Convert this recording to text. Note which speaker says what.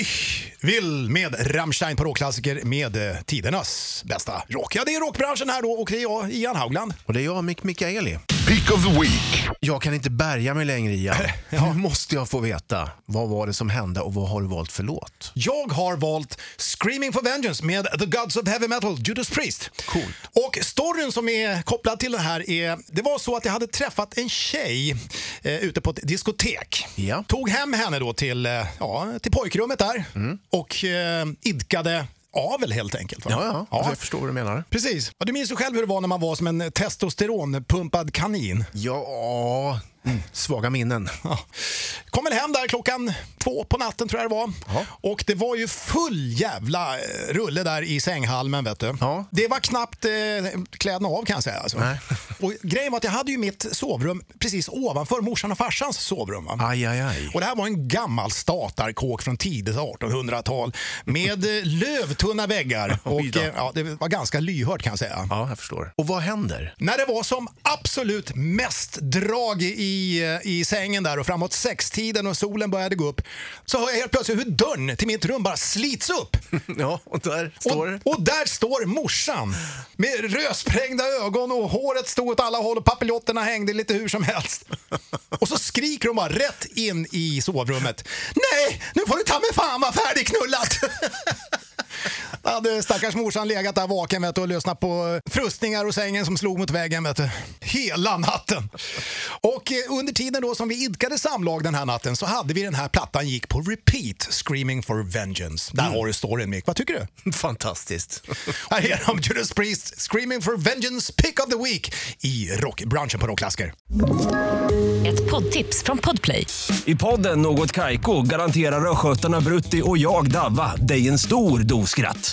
Speaker 1: Ich will med Rammstein på rockklassiker med eh, tidernas bästa rock. Ja, det är rockbranschen här då och det är jag, Ian Haugland.
Speaker 2: Och det är jag, Mick Mikaeli.
Speaker 3: Pick of the Week.
Speaker 2: Jag kan inte bärga mig längre, Ian. Nu måste jag få veta. Vad var det som hände och vad har du valt för låt?
Speaker 1: Jag har valt Screaming for Vengeance med The Gods of Heavy Metal, Judas Priest.
Speaker 2: Coolt.
Speaker 1: Och storyn som är kopplad till den här är... Det var så att jag hade träffat en tjej eh, ute på ett diskotek.
Speaker 2: Ja.
Speaker 1: Tog hem henne då till, eh, ja, till pojkrummet där
Speaker 2: Mm.
Speaker 1: och eh, idkade avel helt enkelt. Va?
Speaker 2: Ja, ja. Alltså, jag förstår vad du menar.
Speaker 1: Precis. Ja, Du minns ju själv hur det var när man var som en testosteronpumpad kanin.
Speaker 2: Ja, mm. svaga minnen.
Speaker 1: Ja. Kom väl hem där klockan två på natten tror jag det var.
Speaker 2: Ja.
Speaker 1: Och det var ju full jävla eh, rulle där i sänghalmen vet du.
Speaker 2: Ja.
Speaker 1: Det var knappt eh, kläderna av kan jag säga. Alltså.
Speaker 2: Nej.
Speaker 1: Och grejen var att jag hade ju mitt sovrum precis ovanför morsan och farsans sovrum. Va?
Speaker 2: Aj, aj, aj.
Speaker 1: Och det här var en gammal statarkåk från tidigt 1800-tal med eh, lövtunna väggar. Och,
Speaker 2: Oj då.
Speaker 1: eh, ja, det var ganska lyhört kan jag säga.
Speaker 2: Ja, jag förstår. Och vad händer?
Speaker 1: När det var som absolut mest drag i, i sängen där och framåt sextiden och solen började gå upp så hör jag helt plötsligt hur dörren till mitt rum bara slits upp.
Speaker 2: Ja, och där står det.
Speaker 1: Och, och där står morsan med rödsprängda ögon och håret stod åt alla håll och papillotterna hängde lite hur som helst. Och så skriker hon bara rätt in i sovrummet. Nej, nu får du ta mig fan vara färdigknullat! Då hade stackars morsan legat där vaken vet du, och lyssnat på frustningar och sängen som slog mot väggen vet du. hela natten. Och eh, under tiden då som vi idkade samlag den här natten så hade vi den här plattan gick på repeat, Screaming for Vengeance. Där har du storyn Mick, vad tycker du?
Speaker 2: Fantastiskt.
Speaker 1: Här är de, Judas Priest, Screaming for Vengeance, Pick of the Week i rockbranschen på rockklassiker.
Speaker 4: Ett poddtips från Podplay.
Speaker 5: I podden Något Kaiko garanterar östgötarna Brutti och jag, Davva, dig en stor dos skratt.